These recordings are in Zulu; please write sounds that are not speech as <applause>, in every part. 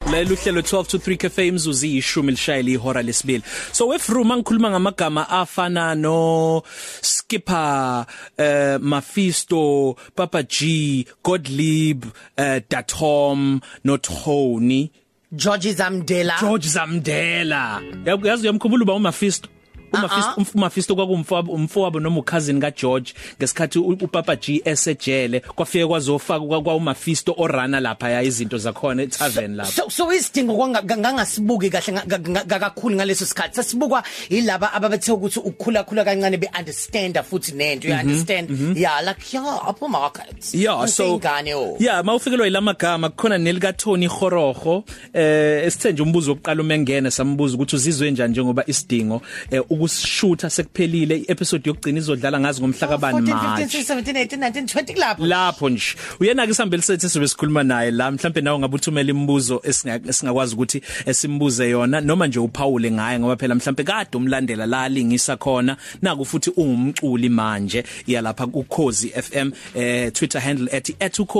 lalela uhlelo 12 to 3 cafe imzuzi ishumi lishayile ihora lesibili so with room ngikhuluma ngamagama afana no Skipper uh Mephisto Papa G Godlieb uh Datom no Tony George Zamdela George Zamdela yazi uyamkhumbula uba uMephisto uMephisto uh -uh. uMephisto kwakumfabo umfowabo noma ucousin kaGeorge ngesikhathi u- uPapa G esejele kwafike kwazofaka kwaMephisto orana lapha ya izinto zakhona etavern lapha so so isidingo kwangangasibuki kahle nga- nga- nga- kakhulu ngaleso sikhathi sasibukwa yilaba ababethe ukuthi ukukhula khula kancane be understand futhi nento Mhm, you understand yeah like yeah upper markets Yeah so ingane o Yeah mawufikelwa ilamagama kukhona nelika Tony Khoroho eh esithenje umbuzo oqala uma engena sambuza ukuthi uzizwe njani njengoba isidingo eh, ukusishutha sekuphelile i-episode yokugcina izodlala ngazi ngomhla kabani 14 15 manje 16 17 18 19 20 lapho lapho nje uyena ke sambeli sethu sibe sikhuluma naye la mhlambe nawe ngabuthumela imibuzo esinga- esingakwazi ukuthi esimbuze yona noma nje uphawule ngaye ngoba phela mhlambe kade umlandela la lingisa khona naku futhi ungumculi manje yalapha kuKhozi FM eh Twitter handle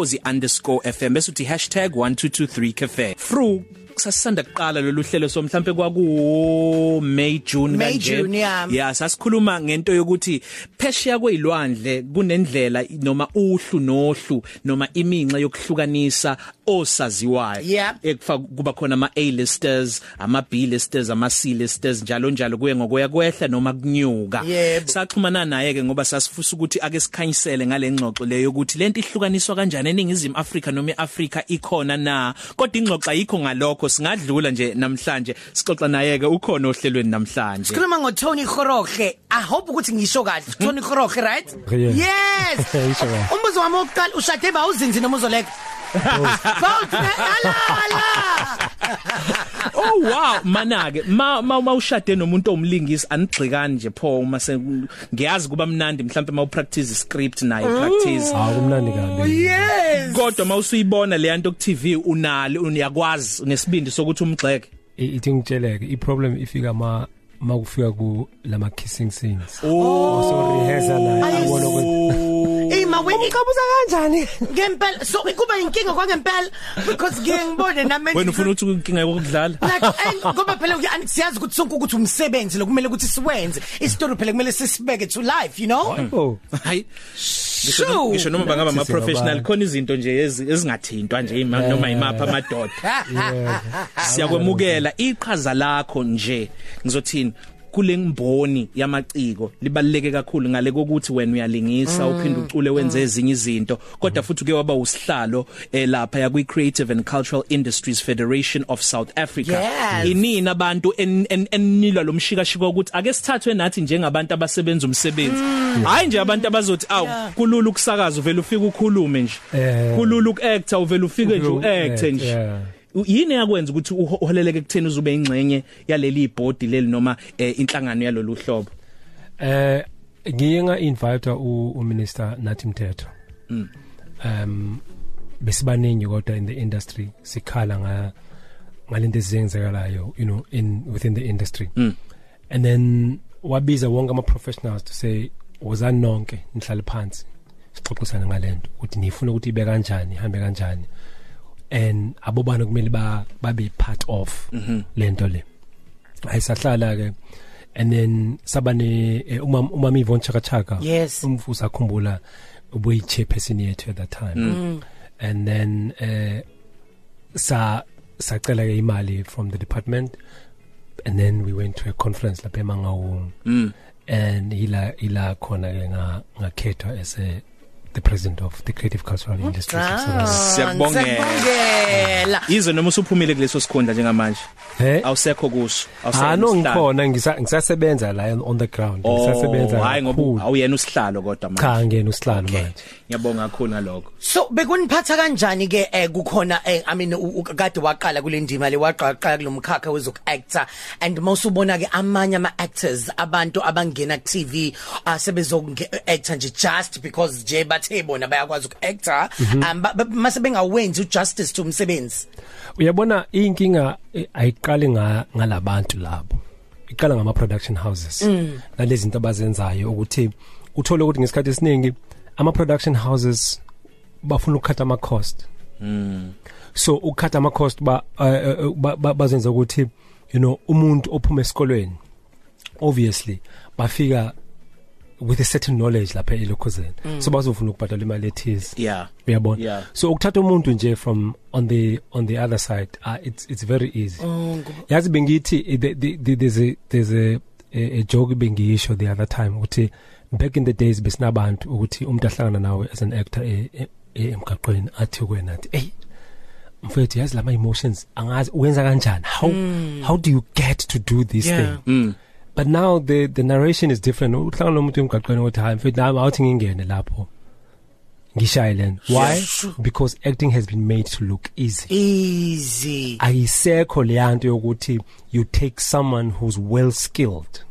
@ukhozi_fm bese uthi #1223cafe fru sasisanda kuqala lolu hlelo so mhlambe kwaku May June May, kanje June, yeah. yeah sasikhuluma ngento yokuthi phesheya kwezilwandle kunendlela noma uhlu nohlu noma iminxa yokuhlukanisa osaziwayo Yeah. ekufa kuba khona ama A-listers ama B-listers ama C-listers njalo njalo kuye ngokuya kwehla noma kunyuka Yebo. saxhumana naye ke ngoba sasifusa ukuthi ake sikhanyisele ngalengxoxo leyo ukuthi lento ihlukaniswa kanjani eningizimu Africa noma iAfrica ikhona na kodwa ingxoxo ayikho ngalokho singadlula nje namhlanje sixoxa naye ke ukhona ohlelweni namhlanje Sikhuluma ngo Tony Khorohle. I hope ukuthi ngisho Mhm. kahle. Tony Khorohle, right? Yeah. Yes. <laughs> Ngisho kahle. Umbuzo wami oqala ushade ba uzinzi noma uzoleka? Both. Ala ala. Oh wow manake ma ma mawushade nomuntu omlingisi anigxikani nje pho uma se ngiyazi kuba mnandi mhlawumbe mawu practice script naye Mm. practice Hawu kumnandi kabi. Yes. kodwa mawusuyibona le yanto ku TV unali uniyakwazi unesibindi sokuthi umgxeke I- Ithi ngitsheleke i problem ifika ma makufika ku lama kissing scenes. Oh so rehearsal la yabona ukuthi Oh. Ima wini kabuza kanjani? ngempela so kuba inkinga kwangempela because ngiyengibone nami wena <laughs> ufuna ukuthi inkinga yokudlala like and ngoba phela uya- and siyazi ukuthi sonke ukuthi umsebenzi lo kumele ukuthi siwenze istory phela kumele sisibeke to life you know Oh hayi ngisho Shoo. noma- ngisho noma bangaba ama Nathi professional singabantu. khona izinto nje ezi- ezingathintwa nje ima- noma imapha amadoda siyakwemukela iqhaza lakho nje ngizothini kule ngimboni yamaciko libaleke kakhulu ngale kokuthi wena uyalingisa uphinde ucule wenze ezinye izinto kodwa futhi uke waba usihlalo eh, lapha ya kwi Creative and Cultural Industries Federation of South Africa Yes. inini abantu en- en- enilwa lomshika shika ukuthi ake sithathwe nathi njengabantu abasebenza umsebenzi Hmm. hayi nje abantu abazothi aw kulula ukusakaza uvela ufike ukhulume nje Eh. kulula ukactor uvela ufike nje uacte Uku-act, nje yeah. U- yini yakwenza ukuthi uho- uholeleke kutheni uzube ingcenye yaleli ibhodi leli noma eh, inhlangano yalolu hlobo eh ngiye nga invite u u minister Nathi Mthetho. Mm. Um besibaningi kodwa in the industry sikhala nga ngalento ezenzekalayo you know in within the industry. Mm. And then wabiza wonke ama professionals to say woza nonke nihlale phansi sixoxisana ngalento ukuthi nifuna ukuthi ibe kanjani ihambe kanjani and abobani kumele ba babe part of lento le. Ayisahlala ke and then eh, sabane umam umam Yvonne Chaka Chaka Yes. umfusa khumbula ubuyi chairperson yethu at that time. Mm. And then eh sa sacela ke imali from the department and then we went to a conference lapha eMangaung mm. and ila ila khona ke nga ngakhethwa as a the president of the creative cultural industry ah. Siyakubongela. siyabongela yize noma usuphumile kuleso sikhundla njengamanje hey awusekho kuso ah awusekho no kusihlalo. ngikhona ngisa- ngisasebenza la on the ground Oh, ngisasebenza hayi kakhulu. ngoba awuyena usihlalo kodwa manje cha ngene usihlalo manje ngiyabonga kakhulu ngalokho so bekuniphatha kanjani ke eh, kukhona eh, i mean u- u- kade waqala kulendima le waqaqa kulomkhakha wezoku actor and mawusubona ke amanye ama actors abantu abangena ku TV asebezoku actor nje just because nje bathe bona bayakwazi uku actor um ba- ba- mase bengawenzi ujustice to umsebenzi uyabona inkinga eh, ayiqali nga ngalabantu labo iqala ngama production houses nalezi zinto abazenzayo ukuthi uthole ukuthi ngesikhathi esiningi ama production houses bafuna ukukhatha ama cost so ukhatha ama cost ba uh, uh, ba- ba- bazenza ukuthi you know umuntu ophuma esikolweni obviously bafika with a certain knowledge lapha elokhozeni so bazofuna ukubhadala imali ethize yeah uyabona Yeah. so ukuthatha umuntu nje from on the on the other side uh, it's it's very easy yazi bengithi eh, the- the- the- there's a there's a a a joke bengisho the other time ukuthi back in the days besinabantu ukuthi umuntu ahlangana nawe as an actor eh, eh, eh, emgaqweni athi kuwena athi hey mfethu yazi lama emotions angazi uwenza kanjani how how do you get to do this Yeah. thing Mm. but now the the narration is different uhlangana nomuntu emgaqweni othi hayi mfethu nami awuthi ngingene lapho ngishaye lena why Sure. because acting has been made to look easy easy ayisekho leyanto yokuthi you take someone who's well skilled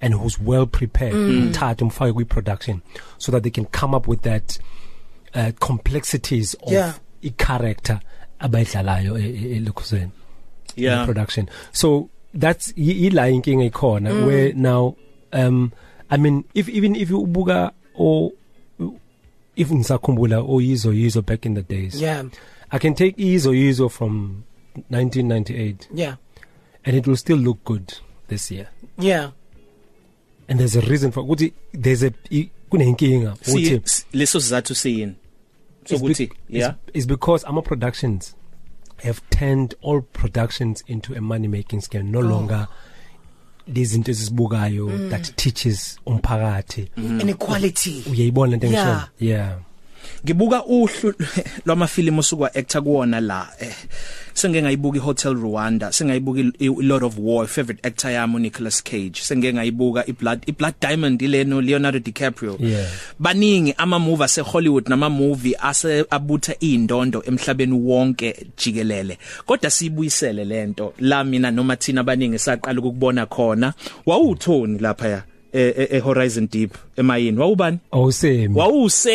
and who's well prepared uthathe umfake kwi production so that they can come up with that uh, complexities of Yeah. i character abayidlalayo e, elokhuzeni yeah. yeah production so that's yila inkinga ikhona mm. where now um i mean if even if you ubuka or if ngisakhumbula oyizo yizo back in the days yeah I can take Izo Izo from 1998 yeah and it will still look good this year. yeah And there's a reason for ukuthi there's a i- kunenkinga See, ukuthi s- leso sizathu siyini it's be- sokuthi yeah it's- it's because ama productions have turned all productions into a money making scheme no longer lezinto esizibukayo that teaches umphakathi Mm. inequality uyayibona into Mm-hmm. Yeah. engisho yeah ngibuka uhlu <laughs> lwamafilimu osuka actor kuona la eh, sengeke ngayibuka iHotel Rwanda sengayibuka i- i- Lord of War favorite actor yami uNicolas Cage sengeke ngayibuka iBlood iBlood Diamond ileno Leonardo DiCaprio Yeah. baningi ama movie ase Hollywood nama movie ase abutha indondo emhlabeni wonke jikelele kodwa siyibuyisele lento la mina noma thina abaningi saqala ukubona khona wawuthoni lapha ya e, e, e Horizon Deep emayini wawubani awusemi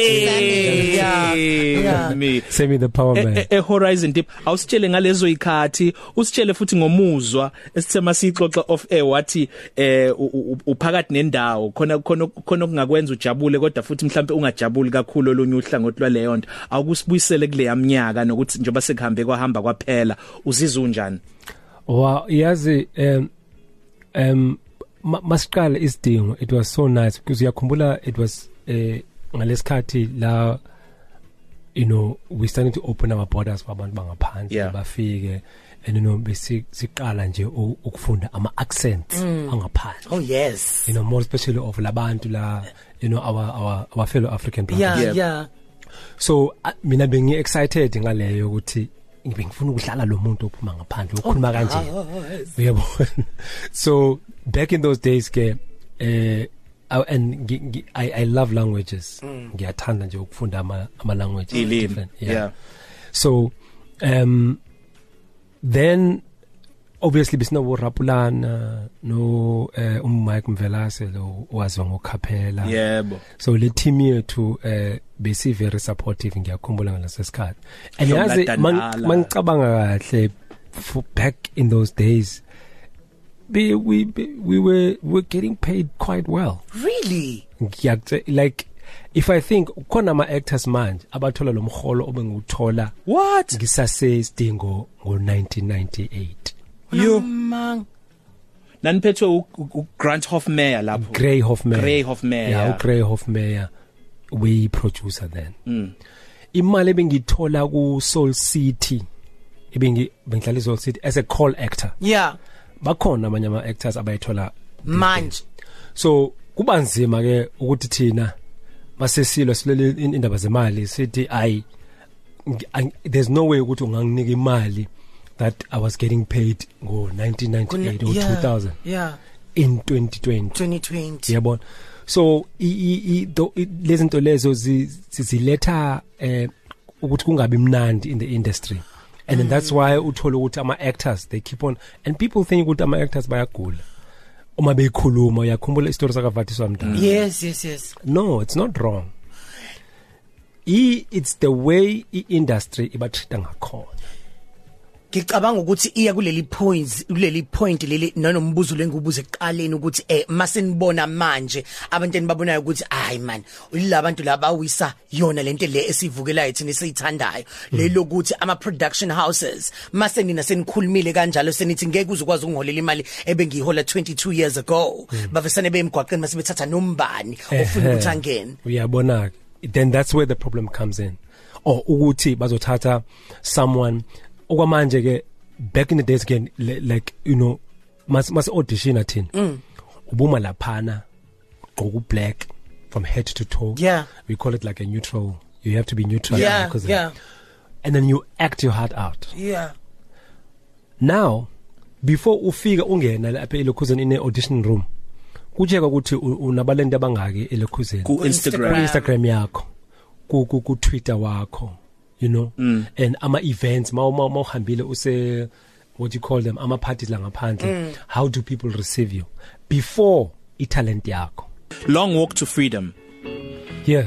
wawuse Yeah. Yeah. me semi the power man e horizon deep awusitshele ngalezo ikhathi usitshele futhi ngomuzwa esithema sixoxa off air wathi eh u- u- u- uphakathi nendawo khona khona khona okungakwenza ujabule kodwa futhi mhlambe ungajabuli kakhulu olunye uhlangothi lwaleyo nto awukusibuyisele kule yamnyaka nokuthi njengoba sekuhambe kwahamba kwaphela uzizwa unjani Wow, yazi um um ma- masiqale isidingo it was so nice because uyakhumbula it was eh ngalesikhathi la you know we started to open our borders for abantu bangaphandle Yeah. bafike and you know besiqala nje u- ukufunda ama accents angaphandle oh yes you know more especially of labantu la you know our our our fellow african brothers yeah Yeah. yeah so a- mina bengi excited ngaleyo ukuthi ngibengifuna ukudlala lo muntu ophuma ngaphandle okhuluma kanje Oh, uyabona <laughs> so back in those days ke eh I- and ngi- ngi- I I love languages ngiyathanda nje ukufunda ama ama languages Mm. ilimi different, yeah so um then obviously bisina wo Rapulana no eh um Mike Mvelase lo waziwa ngokhaphela yebo so le team yethu eh bese very supportive ngiyakhumbula ngaleso sikhathi and Hlobo yazi laDanala. man- mangicabanga kahle for back in those days we we we were we were getting paid quite well really ngiyakutse like if i think khona ama actors manje abathola lo mholo obengiwuthola what ngisase sidingo ngo1998 you mang naniphetwe u- u u- Grant Hofmeyer lapho Grey Hofmeyer Gray Hofmeyer, yeah, yeah. yeah. Grey Hofmeyer we producer then Mm. imali ebengithola ku Soul City ebengi bengidlala Soul City as a call actor yeah bakhona abanye ama actors abayithola manje so kubanzima ke ukuthi thina masesilwa silele in- indaba zemali sithi ayi ngi- ang- there's no way ukuthi unganginika imali that i was getting paid ngo 1998 or Yeah. 2000 yeah in 2020 2020 siyabona so i- i- i- tho- i- lezi zinto lezo zi- zi- ziletha eh ukuthi kungabi mnandi in the industry and then that's why uthola ukuthi ama actors they keep on and people think ukuthi ama actors bayagula uma beyikhuluma uyakhumbula isitori sakavathiswa mdala yes yes yes no it's not wrong i it's the way i industry ibatreata ngakhona Ngicabanga ukuthi iya kuleli points kuleli point leli nanombuzo lengubuze ekuqaleni ukuthi eh mase nibona manje abantu enibabonayo ukuthi hayi man labantu laba wisa yona lento le esivukelayo thina esiyithandayo lelokuthi ama production houses mase nina senikhulumile kanjalo senithi ngeke uzokwazi ungiholela imali ebengiyihola 22 years ago bavesane bemgwaqeni mase bethatha nombani ofuna ukuthi angene uyabona then that's where the problem comes in or ukuthi bazothatha someone okwamanje ke back in the days again li- like you know mas mas audition athini Mm. ubuma laphana ugqoka black from head to toe Yeah. we call it like a neutral you have to be neutral yeah because of yeah that. and then you act your heart out yeah now before ufika ungena lapha elokhuzeni ine audition room kujeka ukuthi u- unabalenti abangaki elokhuzeni ku Instagram. Instagram. Instagram yakho ku ku ku Twitter wakho you know and ama events mawuma uhambile use what you call them ama parties la ngaphandle how do people receive you before i talent yakho Long walk to freedom. yeah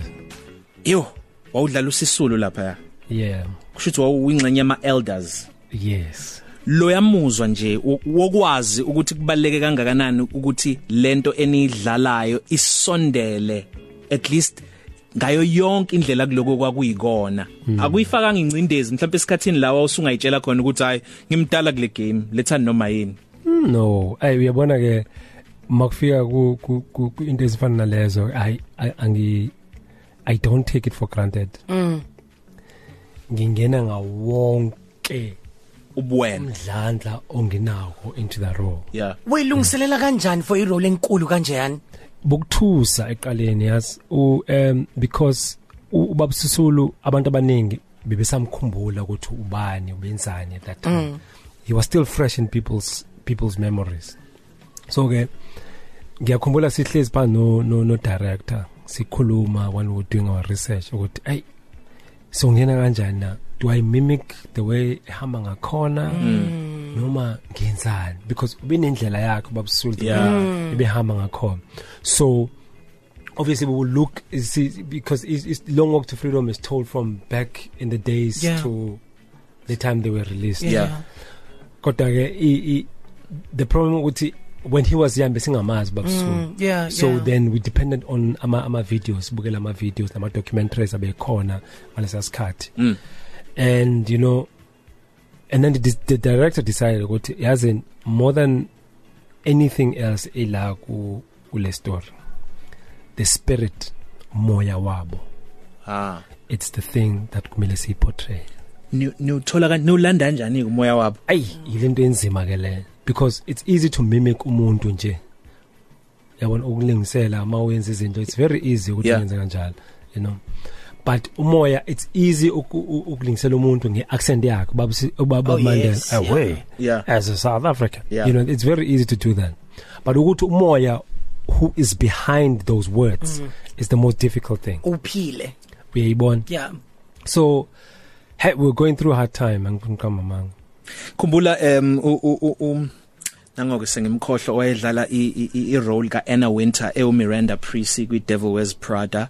Yo, wawudlala usisulu lapha. yeah Kushuthi wawuyingxenye ama elders. yes Lo yamuzwa nje wo- wokwazi ukuthi kubaleke kangakanani ukuthi lento enidlalayo isondele at least ngayo yonke indlela kuloko kwakuyikona akuyifaka ngingcindezi mhlawumbe esikhatini lawa usungayitshela khona ukuthi hayi ngimdala kule game letha noma yini Mm, no ay uyabona ke makufika ku ku ku ku- into ezifana nalezo ay ay- angi i don't take it for granted mm ngingena ngawonke ubuwena umdlandla onginako into the role yeah Wayilungiselela kanjani for i-role enkulu kanjeyani? bokuthusa eqaleni yazi u um because ubabusisulu abantu abaningi bebesamkhumbula ukuthi ubani ubenzani at that time mm. he was still fresh in people's people's memories so ke ngiyakhumbula sihlezi phansi no, no no director sikhuluma when we were doing our research ukuthi hey songena kanjani na do i mimic the way ehamba ngakhona Hmm. mm. noma ngenzani because ubenendlela yakhe babusulu Yeah. ebehamba ngakhona so obviously we will look is because it's, it's long walk to freedom is told from back in the days Yeah. to the time they were released Yeah. kodwa ke i- i- the problem ukuthi when he was young besingamazi babusulu mm. yeah so then we depended on ama ama videos bukela ama videos nama documentaries abekhona ngalesa sikhathi Mm. and you know and then the, dis- the director decided ukuthi yazi more than anything else ila ku kule story the spirit moya wabo ah it's the thing that kumele siyiportray ni uthola kanjani ulanda kanjani umoya wabo ayi yilento enzima ke le because it's easy to mimic umuntu nje yabona ukulungisela uma wenza izinto it's very easy ukuthi Yeah. wenze kanjalo you know but umoya it's easy uku- u- ukulungisela umuntu ngeaccent yakhe babusi Oh, babamandela yes, away yeah Ah, as a South African Yeah. you know it's very easy to do that but ukuthi umoya who is behind those words mm. is the most difficult thing uphile uyayibona yeah so hey, we're going through a hard time angikukama manga khumbula um u u u nangoke sengimkhohle owayedlala i- i i- i role ka Anna Winter e Miranda Priestly kwi Devil Wears Prada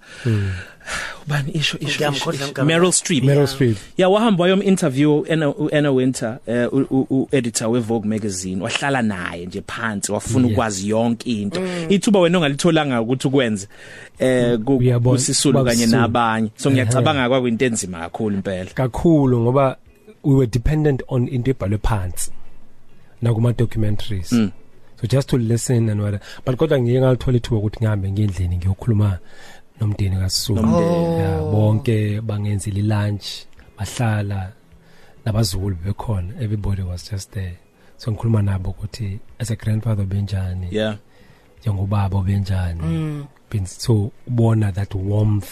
ubani isho isho Ngiyamkhohlwa isho- igama. Meryl Streep Hmm. Meryl Streep ya wahamba wayom interview Anna u- Anna Winter eh, u- u u- editor we Vogue magazine wahlala naye nje phansi wafuna Yeah. ukwazi yonke into Mm. ithuba wena ongalitholanga ukuthi ukwenze eh ku- Uyabona, kusisulu kanye kubabuSisulu. nabanye so Ehhe. ngiyacabanga kwakuyinto enzima kakhulu impela kakhulu ngoba we were dependent on into ebhalwe phansi nakuma documentaries Mm. so just to listen and what but kodwa ngiyeke ngalithola ithuba ukuthi ngihambe ngiyendlini ngiyokhuluma nomndeni kaSisulu Nomndeni. Oh. Yeah, bonke bangenzile lunch bahlala nabazukulu bekhona everybody was just there so ngikhuluma nabo ukuthi as a grandfather benjani yeah Mm. njengobaba benjani been so ubona that warmth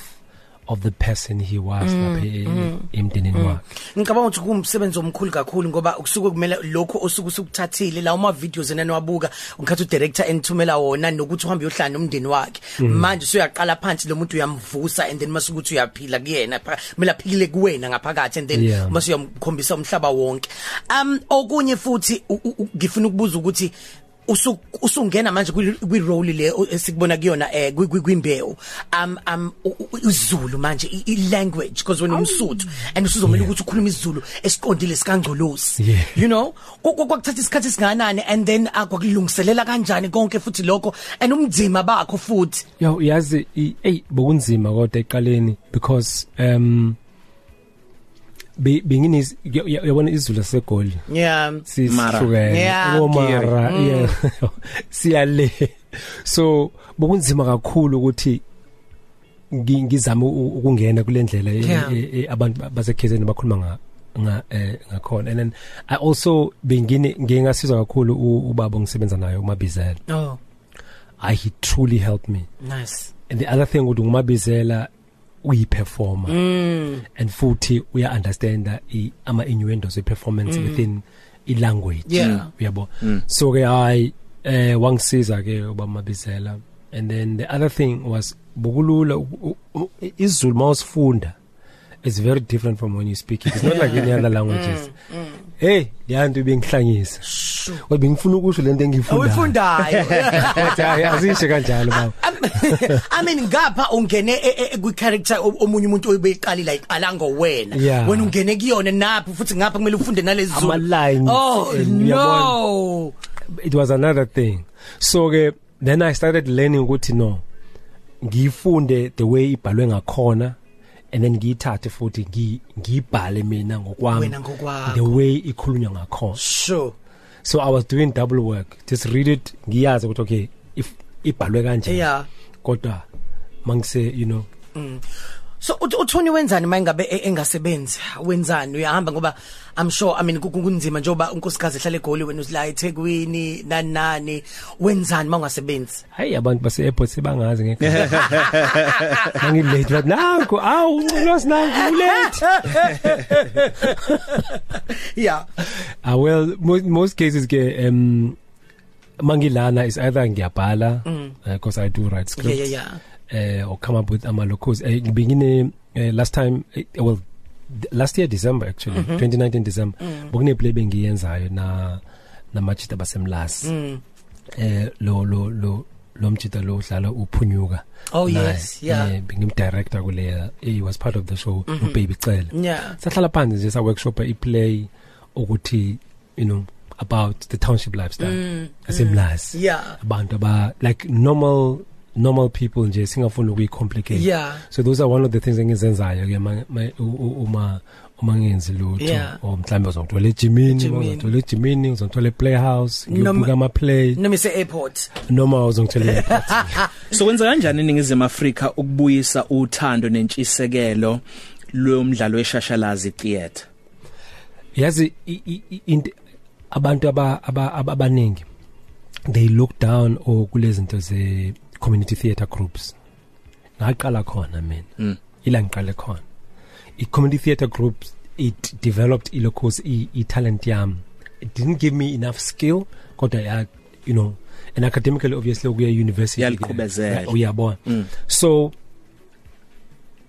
of the person he was Mm. lapha e- emndenini wakhe ngicabanga ukuthi kumsebenzi omkhulu kakhulu ngoba kusuke kumele lokho osuku sukuthathile lawo ma videos enani wabuka ngikhathi u director enithumela wona nokuthi uhambe uyohlala nomndeni wakhe Mm. manje usuyaqala phansi lo muntu uyamvusa and then masukuthi uyaphila kuyena pha- kumele aphikile kuwena ngaphakathi and then Yeah. masu uyamkhombisa umhlaba wonke um okunye futhi u- u- u- ngifuna ukubuza ukuthi usu usungena manje kwi role le esikubona kuyona eh kwimbewu um um isiZulu manje i language because when umsuthu and usuzomela ukuthi ukhuluma isiZulu esiqondile sikangcolosi Yeah. you know kokuthatha isikhathi singanani and then akwakulungiselela kanjani konke futhi lokho and umdzima bakho futhi yo yazi i- hey bokunzima kodwa eqaleni because um be bengini yabona izulu segoli yeah Mara. Yeah. Mm. sisihlukene omara yeah <laughs> siyale so bokunzima kakhulu ukuthi ngi- ngizame u- ukungena kulendlela e- Yeah. e- e- abantu ba- basekhezeni bakhuluma nga nga eh, ngakhona and then i also bengine ngingasizwa kakhulu u- ubaba ngisebenza naye umabizela oh i he truly helped me nice and the other thing ukuthi ngumabizela uyiperformer mm. and futhi uya understand ama innuendos e performance mm. within i language Yeah. uyabo mm. so ke hay eh wangisiza ke ubamabizela and then the other thing was bukulula u- u- u- isiZulu mawusifunda is very different from when you speak it it's not like any <laughs> other languages hey yantu bengihlangisa kodwa ngifuna ukusho lento engiyifundayo <laughs> awifundayo kodwa hhayi, azisho kanjalo baba <laughs> I mean ngapha ungene e- ku character omunye umuntu oyibeyiqalile ayiqala ngowena Yeah. wena ungene kuyona naphi futhi ngapha kumele ufunde nalezi Ama lines oh and no it was another thing so ke then i started learning ukuthi no ngifunde the way ibhalwe ngakhona and then ngiyithathe futhi ngi- ngiyibhale mina Wena ngokwami ngokwakho. the way ikhulunywa ngakhona sure so i was doing double work just read it ngiyazi ukuthi okay if ibhalwe kanje Yeah. kodwa mangise you know so uthi- uthoni wenzani mayingabe e- engasebenzi wenzani uyahamba ngoba i'm sure i mean ku- ku- kunzima njengoba unkosikazi ehlale egoli wena usila eThekwini nani nani wenzani mawungasebenzi hayi abantu base airport <laughs> sebangazi ngekho ngilate but nanku awu unculosi nanku ulate yeah Ah well most, most cases ke um mangilana is either ngiyabhala because mm. uh, I do write yeah scripts yeah yeah yeah. Uh, or come up with ama locals uh, ngibingine uh, last time uh, well d- last year December actually Mm-hmm. mm -hmm. 2019 December mm. bokune play bengiyenzayo na namachita basemlas mm. eh lo lo lo lo mchita lo udlala uphunyuka Oh, naye, yes, yeah. Mm-hmm. eh, bengimdirector kuleya eh, he was part of the show mm -hmm. ubaby cele yeah sahlala phansi nje sa workshop iplay ukuthi you know about the township lifestyle mm, asemlasi yeah abantu aba like normal normal people nje singafuna ukuyicomplicate yeah so those are one of the things engizenzayo ke ma- ma- u- u- uma uma ngenzi Yeah. lutho or mhlambe uzongithola ejimini Ejimini. uzongithola ejimini uzongithola playhouse Noma- ngiyobuka ama play noma ise airport noma uzongithola so kwenza kanjani ningizima Afrika ukubuyisa uthando nentshisekelo lomdlalo weshashalazi theater yazi i- i- i- into abantu aba aba- aba- abaningi they look down or kulezi zinto ze community theater groups ngaqala khona mina ila ngiqale khona i community theater groups it developed ilokhozi i, i talent yami it didn't give me enough skill kodwa ya you know and academically obviously ukuya university Yaliqhubezela. Yeah, uyabona so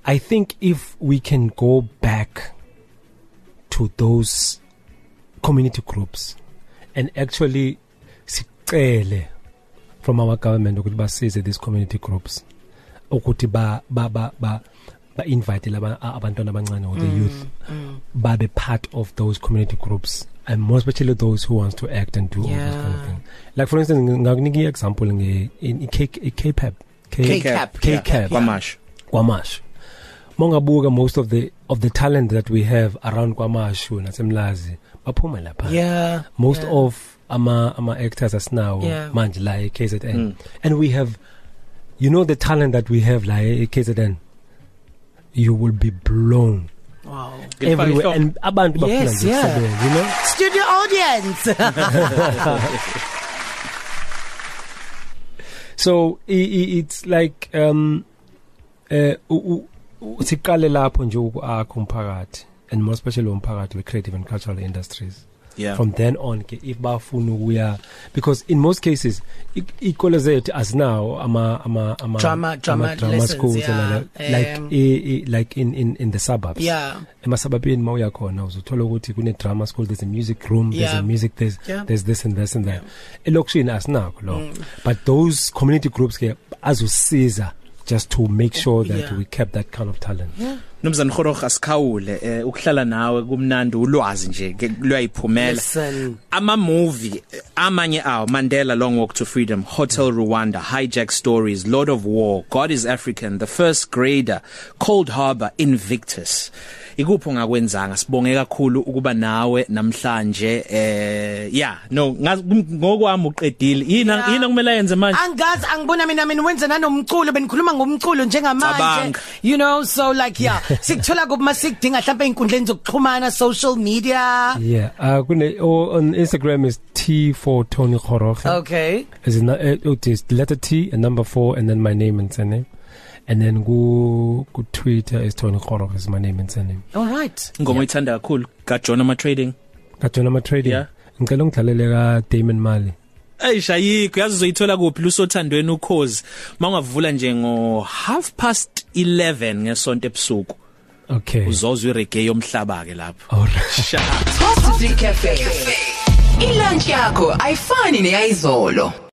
i think if we can go back to those community groups and actually sicele from our government ukuthi basize these community groups ukuthi ba ba ba ba, ba invite laba a- abantwana abancane or the mm, youth mm. babe part of those community groups and more especially those who wants to act and do yeah. all those kind of Yeah. things like for instance ngi- ngakunika iexample nge in i- K- i- K-pop K- K-Cap. K-Cap. kwamasho kwamashu mongabuka most of the of the talent that we have around kwamashu nasemlazi baphuma lapha yeah most yeah. of ama ama actors asinawo Yeah. manje la eKZN mm. and we have you know the talent that we have eh, la eKZN you will be blown wow Ngilifake everywhere ihloko. and abantu bakhula Yes, nje yeah. sebenza, you know studio audience <laughs> so i, i, it's like um eh u- u- u- siqale lapho nje uku akho umphakathi and more especially umphakathi we creative and cultural industries Yeah. from then on ke if bafuna ukuya because in most cases ikole zethu as now ama ama ama Drama- drama lessons, yeah, and all that, um, like i, i, like in in in the suburbs Yeah. emasababini mawuya khona uzothola ukuthi kune drama school there's a music room there's Yeah. a music there's Yeah. Mm. there's this and this and that elokishini asinako lo but those community groups ke azosiza just to make sure that Yeah. we kept that kind of talent Nomzana Khorokh asikhawule eh, ukuhlala nawe kumnandi ulwazi nje ke- luyayiphumela Listen. ama movie eh, amanye awo Mandela Long Walk to Freedom Hotel Rwanda Hijack Stories Lord of War God is African The First Grader Cold Harbor Invictus ikupho ngakwenzanga sibonge kakhulu ukuba nawe namhlanje eh yeah no ngazi- ngokwami uqedile yina Yeah. yina kumele ayenze manje angazi angibona mina mina wenza nanomculo benikhuluma ngomculo njengamanje Cabanga. you know so like <laughs> yeah sikuthola kuma sikudinga mhlawumbe inkundleni zokuxhumana social media yeah uh kune or on instagram is t4 tony khoroge okay is it not, uh, it is letter t and number 4 and then my name and surname and then go go twitter is tony khoroge is my name and surname all right ingoma oyithanda kakhulu ka John ama trading kajona ma trading Yeah. ngicela ungidlalele ka Damon Mali Ayishayikho yazi uzoyithola kuphi lusothandweni ukhozi mawungavula nje ngo half past 11 ngesonto ebusuku okay uzozwa ireggae yomhlaba ke lapho alright Shut up. Coffee Cafe. Ilunch yakho ayifani neyizolo.